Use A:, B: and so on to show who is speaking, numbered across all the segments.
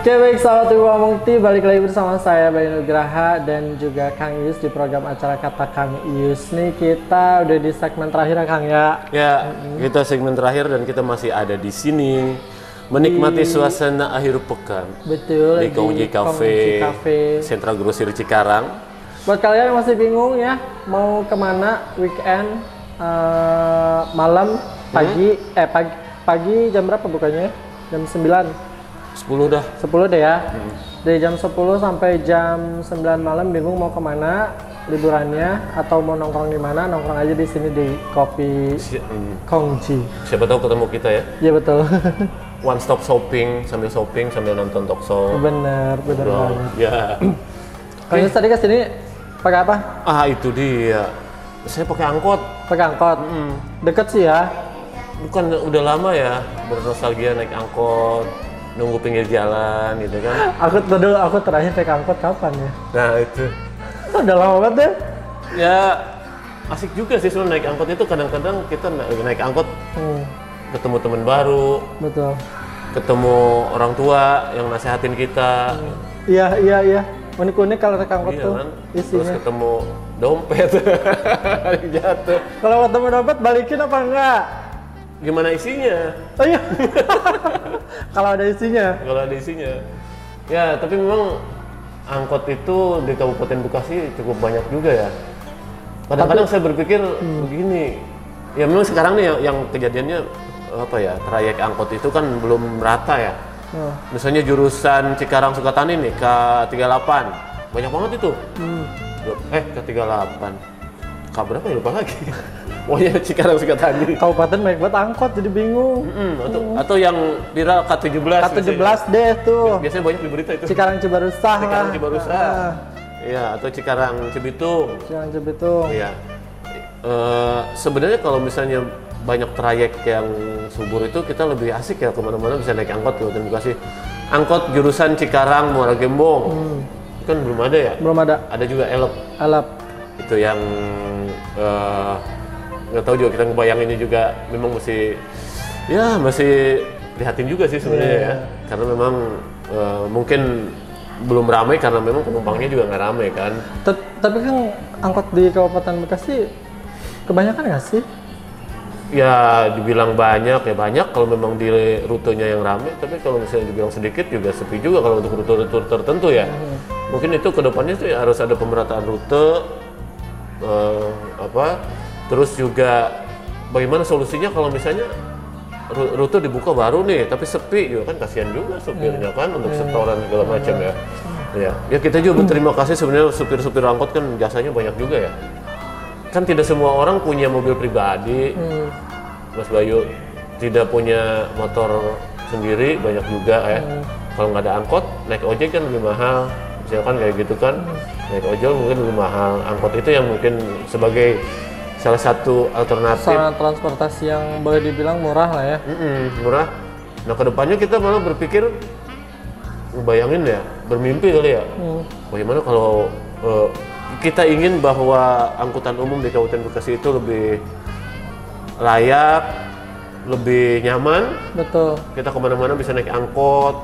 A: Oke baik, sahabat Ibu Mukti, balik lagi bersama saya Bayu Nugraha dan juga Kang Ius di program acara Kata Kang Ius nih kita udah di segmen terakhir ya Kang ya.
B: Ya, kita segmen terakhir dan kita masih ada di sini menikmati suasana akhir pekan
A: Betul.
B: di Kongji Cafe, Sentra Grosir Cikarang.
A: Buat kalian yang masih bingung ya mau kemana weekend eh, malam pagi
B: Hmm?
A: eh pagi pagi jam berapa bukanya? Jam 9
B: 10 dah.
A: 10 deh ya. Dari jam 10 sampai jam 9 malam bingung mau kemana liburannya atau mau nongkrong di mana nongkrong aja di sini di kopi
B: Si- mm,
A: Kongji.
B: Siapa tahu ketemu kita ya.
A: Ya betul.
B: One stop shopping sambil shopping sambil nonton talk show.
A: bener, bener
B: Bro,
A: banget.
B: Ya.
A: Kang
B: Eh.
A: Yus tadi ke sini pakai apa?
B: Ah, itu dia. Saya pakai angkot.
A: Pakai angkot. Deket sih ya.
B: Bukan udah lama ya bernostalgia naik angkot, nunggu pinggir jalan gitu kan.
A: Aku dulu aku terakhir naik angkot kapan ya?
B: Nah, itu.
A: Udah lama banget deh.
B: ya asik juga sih sebenarnya naik angkot itu kadang-kadang kita na- naik angkot
A: Hmm,
B: ketemu teman baru
A: betul.
B: ketemu orang tua yang nasehatin kita
A: Iya iya iya. Unik-unik kalau naik angkot
B: iya
A: tuh
B: kan terus
A: isinya.
B: ketemu dompet jatuh
A: Kalau ketemu dompet balikin apa enggak?
B: gimana isinya
A: Oh iya. Kalau ada isinya.
B: kalau ada isinya ya tapi memang angkot itu di Kabupaten Bekasi cukup banyak juga ya kadang-kadang saya berpikir begini ya memang sekarang nih yang, yang kejadiannya apa ya trayek angkot itu kan belum rata ya
A: Nah,
B: misalnya jurusan Cikarang Sukatani nih K38 banyak banget itu
A: Hmm.
B: eh K38 K berapa ya lupa lagi pokoknya Cikarang Sukatani
A: kabupaten banyak banget angkot jadi bingung.
B: Mm, atau, atau yang di rel K17 misalnya.
A: K17 deh tuh.
B: biasanya banyak di berita itu
A: Cikarang Cibarusah
B: Iya. Cikarang
A: lah.
B: Cibarusah
A: Ah,
B: iya atau Cikarang Cibitung
A: Cikarang Cibitung.
B: Iya. Eh, sebenarnya kalau misalnya banyak trayek yang subur itu kita lebih asik ya kemana-mana bisa naik angkot gitu. Terima kasih. Angkot jurusan Cikarang Muara Gembong Itu kan belum ada ya.
A: Belum ada
B: Ada juga elok
A: alap.
B: itu yang eh, nggak tahu juga kita ngebayanginnya juga memang masih ya masih prihatin juga sih sebenarnya ya karena memang eh, mungkin belum ramai karena memang penumpangnya juga nggak ramai kan.
A: Tet- Tapi kan angkot di Kabupaten Bekasi kebanyakan nggak sih?
B: Ya dibilang banyak ya banyak kalau memang di rutenya yang rame tapi kalau misalnya dibilang sedikit juga sepi juga kalau untuk rute-rute tertentu ya. Mungkin itu kedepannya tuh ya harus ada pemerataan rute eh, apa terus juga bagaimana solusinya kalau misalnya ru- rute dibuka baru nih tapi sepi juga kan kasihan juga supirnya kan untuk setoran segala macam ya. Ya, ya kita juga berterima kasih sebenarnya supir-supir angkot kan jasanya banyak juga ya. Kan tidak semua orang punya mobil pribadi. Mas Bayu tidak punya motor sendiri banyak juga ya. Kalau nggak ada angkot, naik ojek kan lebih mahal. Misalkan kayak gitu kan, naik ojol mungkin lebih mahal. Angkot itu yang mungkin sebagai salah satu alternatif
A: Sarana transportasi yang boleh dibilang murah lah ya.
B: Mm-mm, murah. Nah kedepannya kita malah berpikir, bayangin ya, bermimpi kali ya.
A: Hmm,
B: Bagaimana kalau eh, kita ingin bahwa angkutan umum di Kabupaten Bekasi itu lebih layak, lebih nyaman,
A: Betul.
B: kita kemana-mana bisa naik angkot,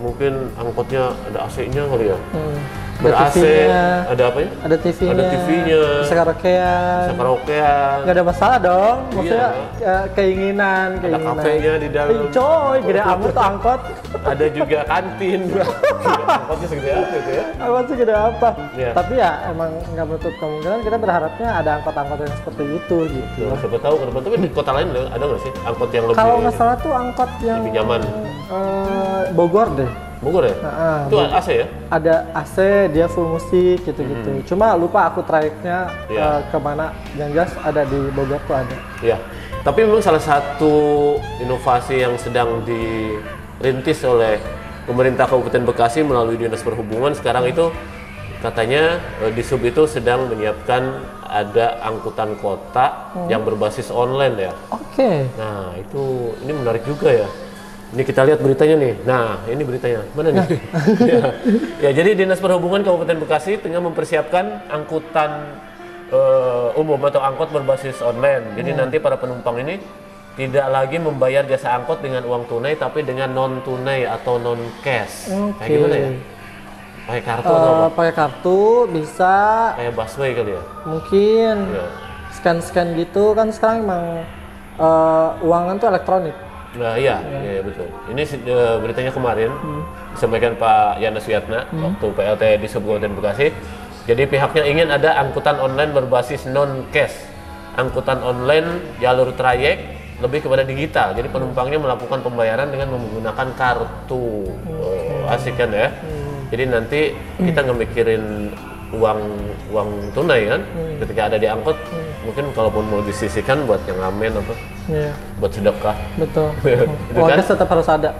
B: mungkin angkotnya ada AC-nya kali ya,
A: Hmm.
B: ber AC,
A: TV-nya,
B: ada apa ya?
A: ada TV-nya,
B: Ada TV-nya.
A: bisa karaokean.
B: Bisa karaokean,
A: nggak ada masalah dong maksudnya eh, keinginan
B: Iya. ada gitu
A: keinginan
B: ya. kafenya di dalam.
A: Eh, coy gede amat tuh angkot
B: ada juga kantin angkotnya segede apa itu ya
A: angkot sih gede apa
B: Iya.
A: tapi ya emang nggak menutup kemungkinan kita berharapnya ada angkot-angkot yang seperti itu gitu
B: Tuh, siapa tahu ke depan tapi di kota lain ada nggak sih angkot yang lebih
A: kalau nggak salah tuh angkot yang
B: lebih nyaman
A: eh, Bogor deh
B: Bogor ya
A: Heeh.
B: itu AC ya
A: ada AC dia full musik gitu-gitu cuma lupa aku trayeknya
B: Mm-hmm. Iya.
A: eh, kemana yang jelas ada di Bogor tuh ada
B: Iya. Tapi memang salah satu inovasi yang sedang dirintis oleh pemerintah Kabupaten Bekasi melalui Dinas Perhubungan sekarang itu katanya eh, di sub itu sedang menyiapkan ada angkutan kota yang berbasis online ya.
A: oke
B: Nah, itu ini menarik juga ya. Ini kita lihat beritanya nih. Nah, ini beritanya. Mana nih? ya. Ya, jadi Dinas Perhubungan Kabupaten Bekasi tengah mempersiapkan
A: Ya.
B: angkutan eh, umum atau angkot berbasis online. Jadi nanti para penumpang ini tidak lagi membayar jasa angkot dengan uang tunai tapi dengan non tunai atau non cash.
A: Oke.
B: Kayak gimana ya? Pakai kartu atau
A: Eh,
B: apa?
A: pakai kartu bisa
B: Kayak busway kali ya?
A: mungkin
B: Ya.
A: scan-scan gitu kan sekarang emang eh, uangan tuh elektronik.
B: Nah, iya, iya, iya, betul. Ini si- eh, beritanya kemarin disampaikan Pak Yana Suyatna waktu PLT di Subkabupaten Bekasi. Jadi pihaknya ingin ada angkutan online berbasis non cash, angkutan online jalur trayek lebih kepada digital. Jadi penumpangnya melakukan pembayaran dengan menggunakan kartu. Oh, asik kan ya? Jadi nanti kita ngemikirin uang uang tunai kan, ketika ada di angkot mungkin kalaupun mau disisihkan buat yang ngamen apa,
A: Iya,
B: buat sedekah.
A: betul.
B: Itu
A: Uang
B: kan?
A: cash tetap harus ada.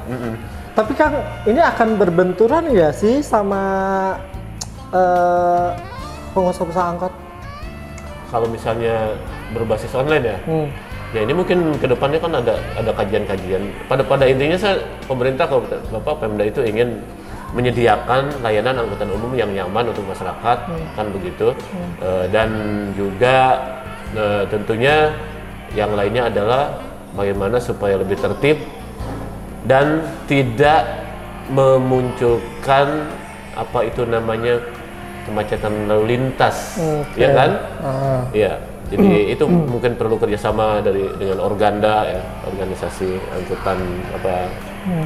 A: Tapi Kang, ini akan berbenturan nggak sih sama eh, pengusaha-pengusaha angkot?
B: kalau misalnya berbasis online ya
A: Hmm.
B: ya ini mungkin kedepannya kan ada ada kajian-kajian pada pada intinya saya pemerintah kalau kata bapak pemda itu ingin menyediakan layanan angkutan umum yang nyaman untuk masyarakat kan begitu Eh, dan juga eh, tentunya yang lainnya adalah bagaimana supaya lebih tertib dan tidak memunculkan apa itu namanya kemacetan lalu lintas
A: Oke.
B: ya kan
A: Ah.
B: Iya, jadi itu mungkin perlu kerjasama dari dengan organda ya, organisasi angkutan apa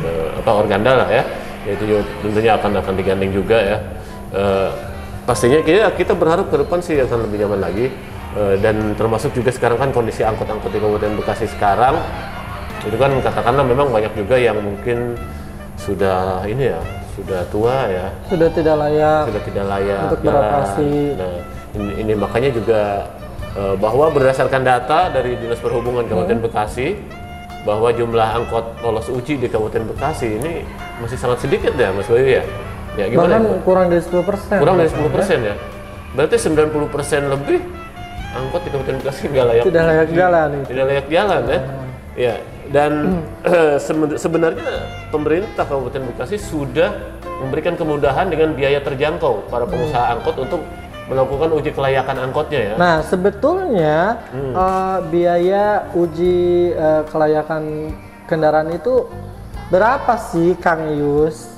B: eh, apa organda lah ya. Ya, Itu juga tentunya akan akan digandeng juga ya. Eh, pastinya kita kita berharap ke depan sih akan lebih nyaman lagi Eh, dan termasuk juga sekarang kan kondisi angkot-angkot di Kabupaten Bekasi sekarang itu kan katakanlah memang banyak juga yang mungkin sudah ini ya sudah tua ya
A: Sudah tidak layak.
B: sudah tidak layak
A: Untuk
B: jalan.
A: beroperasi.
B: Nah, ini, ini makanya juga eh, bahwa berdasarkan data dari Dinas Perhubungan
A: Hmm.
B: Kabupaten Bekasi bahwa jumlah angkot lolos uji di Kabupaten Bekasi ini masih sangat sedikit ya Mas Bayu ya. Ya
A: Bahkan
B: gimana? ya, Bu?
A: kurang dari 10 persen.
B: Kurang dari 10 ya. Berarti 90 lebih angkot di Kabupaten Bekasi nggak layak.
A: Tidak layak jalan itu.
B: Tidak layak jalan ya. Ya, dan eh, semen- sebenarnya pemerintah Kabupaten Bekasi sudah memberikan kemudahan dengan biaya terjangkau para pengusaha angkot untuk melakukan uji kelayakan angkotnya ya.
A: Nah, sebetulnya
B: Hmm.
A: eh, biaya uji eh, kelayakan kendaraan itu berapa sih, Kang Yus?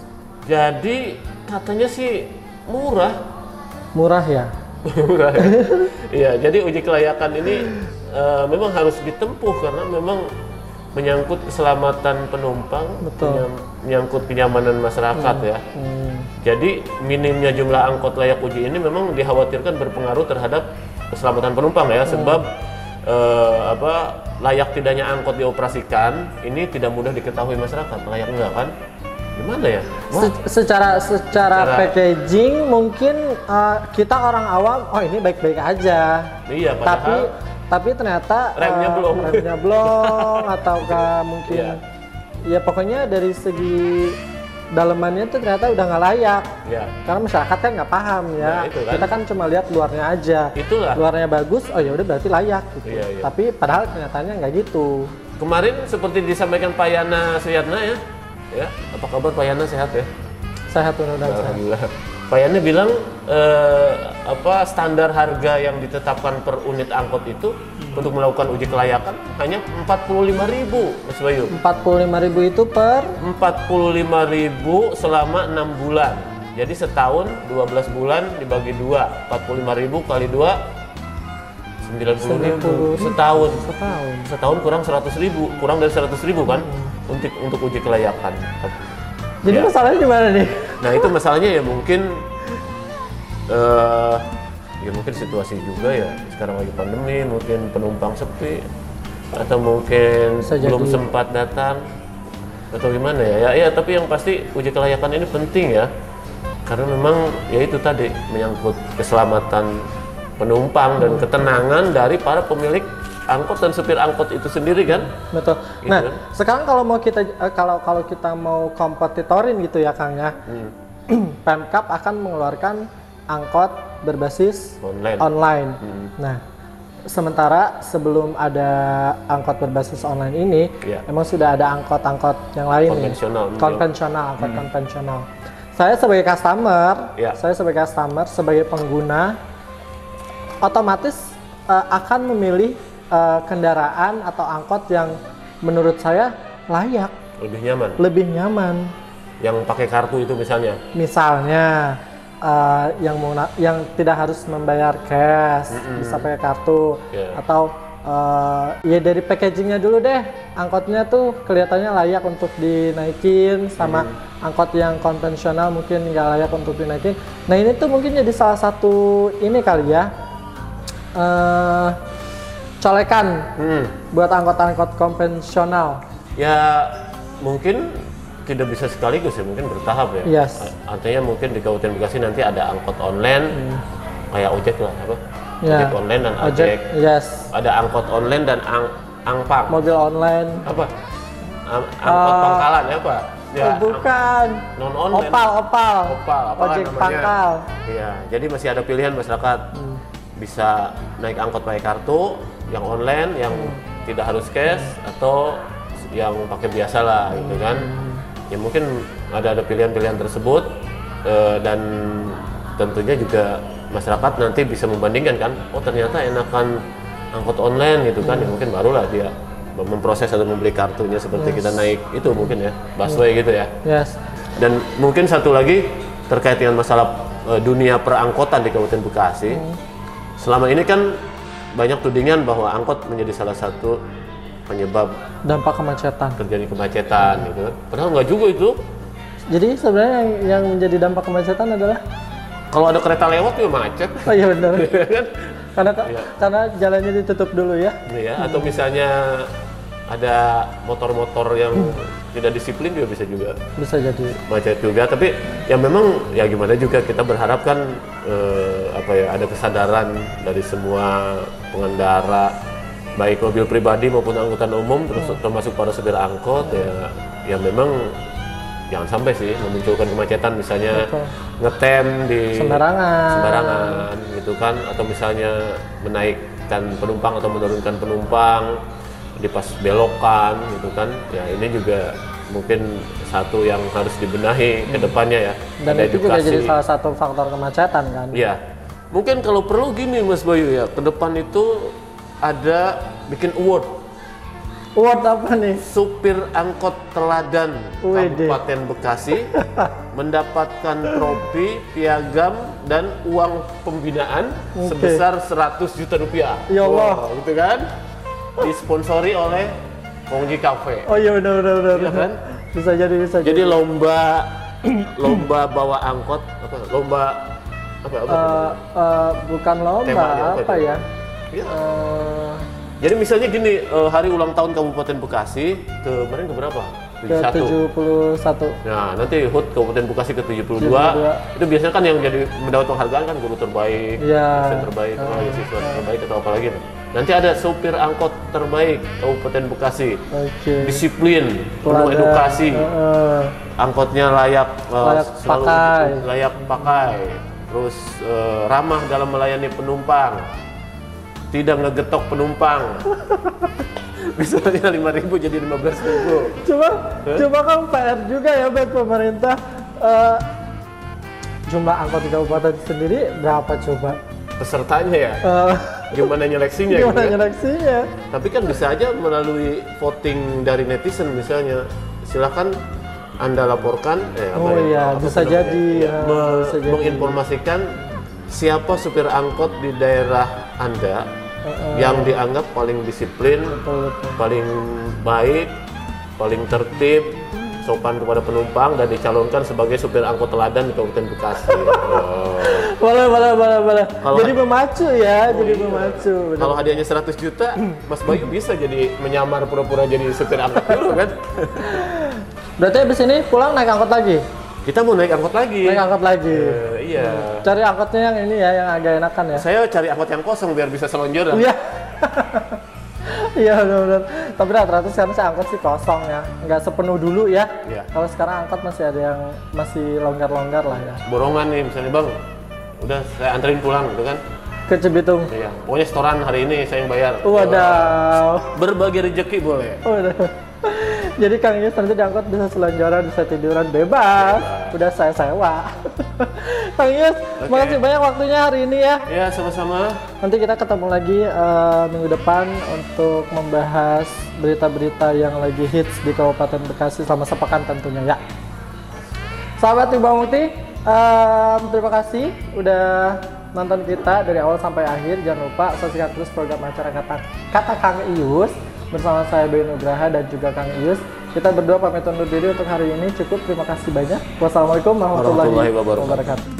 B: Jadi katanya sih murah.
A: Murah ya?
B: murah. ya. Iya, jadi uji kelayakan ini eh, memang harus ditempuh karena memang menyangkut keselamatan penumpang,
A: Betul.
B: menyam- menyangkut kenyamanan masyarakat ya.
A: Hmm,
B: Jadi minimnya jumlah angkot layak uji ini memang dikhawatirkan berpengaruh terhadap keselamatan penumpang ya, sebab
A: Hmm.
B: eh, apa layak tidaknya angkot dioperasikan ini tidak mudah diketahui masyarakat layak enggak kan? Gimana ya? Wah,
A: Se- secara secara
B: Secara-
A: packaging mungkin eh, kita orang awam, oh ini baik-baik aja.
B: iya
A: tapi
B: padahal
A: tapi ternyata
B: Remnya
A: eh,
B: belum.
A: remnya belum ataukah mungkin
B: Iya.
A: ya pokoknya dari segi dalemannya tuh ternyata udah nggak layak.
B: ya
A: Karena masyarakat kan nggak paham ya.
B: Nah, itu kan.
A: Kita kan cuma lihat luarnya aja.
B: itulah
A: Luarnya bagus, oh ya udah berarti layak gitu.
B: Iya, iya.
A: Tapi padahal kenyataannya nggak gitu.
B: kemarin seperti disampaikan Pak Yana Suyatna ya. Ya, apa kabar Pak Yana sehat ya?
A: Sehat undang-undang sehat.
B: Alhamdulillah. Pak Yana bilang eh, apa standar harga yang ditetapkan per unit angkot itu untuk melakukan uji kelayakan hanya 45.000, Mas Bayu.
A: 45.000 itu per
B: 45.000 selama 6 bulan. Jadi setahun 12 bulan dibagi 2, 45.000 kali 2 90.000 setahun.
A: setahun.
B: Setahun kurang 100.000, kurang dari 100.000 kan
A: Hmm.
B: untuk untuk uji kelayakan.
A: Jadi
B: Iya.
A: masalahnya gimana nih?
B: Nah itu masalahnya ya mungkin eh ya mungkin situasi juga ya sekarang lagi pandemi mungkin penumpang sepi atau mungkin
A: Bisa
B: belum
A: jadi.
B: sempat datang atau gimana ya ya ya, tapi yang pasti uji kelayakan ini penting ya karena memang ya itu tadi menyangkut keselamatan penumpang
A: Hmm.
B: dan ketenangan dari para pemilik angkot dan supir angkot itu sendiri kan
A: Betul.
B: Gitu
A: Nah,
B: kan.
A: sekarang kalau mau kita eh, kalau kalau kita mau kompetitorin gitu ya Kang ya.
B: Hmm.
A: Pemkap akan mengeluarkan angkot berbasis
B: online Hmm.
A: online. Nah, sementara sebelum ada angkot berbasis online ini,
B: Iya.
A: emang sudah ada angkot-angkot yang lain nih.
B: Konvensional.
A: Konvensional, angkot konvensional. Saya sebagai customer,
B: Iya.
A: saya sebagai customer, sebagai pengguna, otomatis eh, akan memilih eh, kendaraan atau angkot yang menurut saya layak,
B: lebih nyaman.
A: lebih nyaman.
B: Yang pakai kartu itu misalnya.
A: Misalnya eh, yang mau na- yang tidak harus membayar cash, bisa pakai kartu
B: Ya.
A: atau eh, ya dari packagingnya dulu deh. Angkotnya tuh kelihatannya layak untuk dinaikin sama
B: Mm.
A: angkot yang konvensional mungkin nggak layak untuk dinaikin. Nah ini tuh mungkin jadi salah satu ini kali ya. eh, colekan
B: Hmm.
A: buat angkot-angkot konvensional.
B: Ya mungkin tidak bisa sekaligus ya, mungkin bertahap ya.
A: Yes.
B: A- Artinya mungkin di Kabupaten Bekasi nanti ada angkot online, kayak ojek lah apa?
A: Ya.
B: Ojek online dan ojek.
A: Ojek, yes.
B: Ada angkot online dan ang angpang.
A: Mobil online.
B: apa? Am- angkot pangkalan ya apa? Ya,
A: Eh, bukan.
B: non online.
A: Opal, opal.
B: ang- opal, apa
A: Ojek
B: namanya?
A: pangkal.
B: Iya, jadi masih ada pilihan masyarakat bisa naik angkot pakai kartu, yang online, yang tidak harus cash atau yang pakai biasa lah gitu kan. Ya mungkin ada ada pilihan-pilihan tersebut eh, dan tentunya juga masyarakat nanti bisa membandingkan kan, oh ternyata enakan angkot online gitu kan, ya mungkin barulah dia memproses atau membeli kartunya seperti kita naik itu mungkin ya, busway gitu ya.
A: Yes.
B: Dan mungkin satu lagi terkait dengan masalah eh, dunia perangkotan di Kabupaten Bekasi. Selama ini kan banyak tudingan bahwa angkot menjadi salah satu penyebab
A: Dampak kemacetan.
B: terjadi kemacetan gitu. Padahal nggak juga itu.
A: Jadi sebenarnya yang, yang menjadi dampak kemacetan adalah
B: Kalau ada kereta lewat juga macet.
A: Oh iya benar.
B: ya kan?
A: karena karena jalannya ditutup dulu ya.
B: Iya, atau misalnya ada motor-motor yang tidak disiplin juga bisa juga
A: Bisa jadi.
B: macet juga tapi ya memang ya gimana juga kita berharap kan eh, apa ya ada kesadaran dari semua pengendara baik mobil pribadi maupun angkutan umum terus termasuk para supir angkot ya ya memang jangan sampai sih memunculkan kemacetan misalnya ngetem di
A: Sembarangan.
B: sembarangan gitu kan atau misalnya menaikkan penumpang atau menurunkan penumpang di pas belokan gitu kan ya ini juga mungkin satu yang harus dibenahi ke depannya ya
A: Hmm. Dan
B: Ada
A: itu juga
B: edukasi.
A: jadi salah satu faktor kemacetan kan.
B: ya mungkin kalau perlu gini Mas Bayu ya ke depan itu ada bikin award
A: Word apa nih?
B: supir angkot teladan
A: Wede.
B: Kabupaten Bekasi mendapatkan trofi, piagam dan uang pembinaan
A: Oke.
B: sebesar 100 juta rupiah.
A: Ya Allah.
B: Wah, gitu kan? Disponsori oleh Kongji Cafe.
A: Oh iya benar benar benar.
B: Iya kan?
A: Bisa jadi bisa jadi.
B: Jadi lomba lomba bawa angkot apa lomba apa apa
A: Eh, eh, bukan lomba
B: Temanya apa
A: apa,
B: itu?
A: ya?
B: Iya.
A: Eh,
B: Jadi misalnya gini eh, hari ulang tahun Kabupaten Bekasi kemarin ke berapa?
A: ke 71.
B: Nah, nanti HUT Kabupaten Bekasi ke-72
A: 72.
B: itu biasanya kan yang jadi mendapat penghargaan kan guru terbaik,
A: Iya.
B: dosen terbaik, apalagi siswa terbaik atau apa lagi. tuh. Nanti ada sopir angkot terbaik Kabupaten Bekasi.
A: Oke. Eh,
B: Disiplin, penuh
A: Teladan.
B: edukasi,
A: Heeh.
B: angkotnya layak eh,
A: Layak pakai.
B: layak pakai, terus eh, ramah dalam melayani penumpang. Tidak ngegetok penumpang. Misalnya 5.000 jadi 15.000.
A: Coba, coba kan PR juga ya buat pemerintah. Eh, jumlah angkot di kabupaten sendiri berapa coba?
B: Pesertanya ya.
A: Eh,
B: gimana nyeleksinya gitu
A: gimana
B: ya.
A: nyeleksinya?
B: Tapi kan bisa aja melalui voting dari netizen misalnya. Silakan Anda laporkan eh,
A: Oh
B: ya,
A: iya,
B: apa
A: bisa
B: namanya?
A: jadi,
B: Iya,
A: ya,
B: me-
A: bisa jadi.
B: menginformasikan siapa supir angkot di daerah Anda yang dianggap paling disiplin,
A: Betul, betul.
B: paling baik, paling tertib, sopan kepada penumpang dan dicalonkan sebagai supir angkot teladan di Kabupaten Bekasi. Oh.
A: Boleh, boleh, boleh, boleh.
B: Kalau- Oh, iya.
A: jadi memacu ya, jadi memacu. benar.
B: Kalau hadiahnya 100 juta, Mas Bayu bisa jadi menyamar pura-pura jadi supir angkot dulu kan?
A: Berarti abis ini pulang naik angkot lagi?
B: Kita mau naik angkot lagi.
A: Naik angkot lagi.
B: Eh, iya.
A: Cari angkotnya yang ini ya, yang agak enakan ya.
B: Saya cari angkot yang kosong biar bisa selonjoran.
A: Iya. Iya benar-benar. Tapi rata-rata sekarang sih angkot sih kosong ya, nggak sepenuh dulu ya.
B: Iya.
A: Kalau sekarang angkot masih ada yang masih longgar-longgar lah ya.
B: Borongan nih misalnya bang, udah saya anterin pulang gitu kan?
A: Ke Cibitung.
B: Iya. Pokoknya setoran hari ini saya yang bayar.
A: Wadaw.
B: Berbagi rezeki boleh.
A: Waduh. Jadi Kang Yus nanti diangkut bisa selonjoran, bisa tiduran bebas. Udah saya sewa. Kang Yus, makasih banyak waktunya hari ini ya.
B: Ya sama-sama.
A: Nanti kita ketemu lagi eh, minggu depan untuk membahas berita-berita yang lagi hits di Kabupaten Bekasi selama sepekan tentunya ya. Sahabat Ibu Mukti, em, terima kasih udah nonton kita dari awal sampai akhir. Jangan lupa saksikan terus program acara kata, kata Kang Ius bersama saya Bayu Nugraha dan juga Kang Ius. Kita berdua pamit undur diri untuk hari ini. Cukup terima kasih banyak. Wassalamualaikum warahmatullahi
B: Warahmatullahi wabarakatuh.
A: wabarakatuh.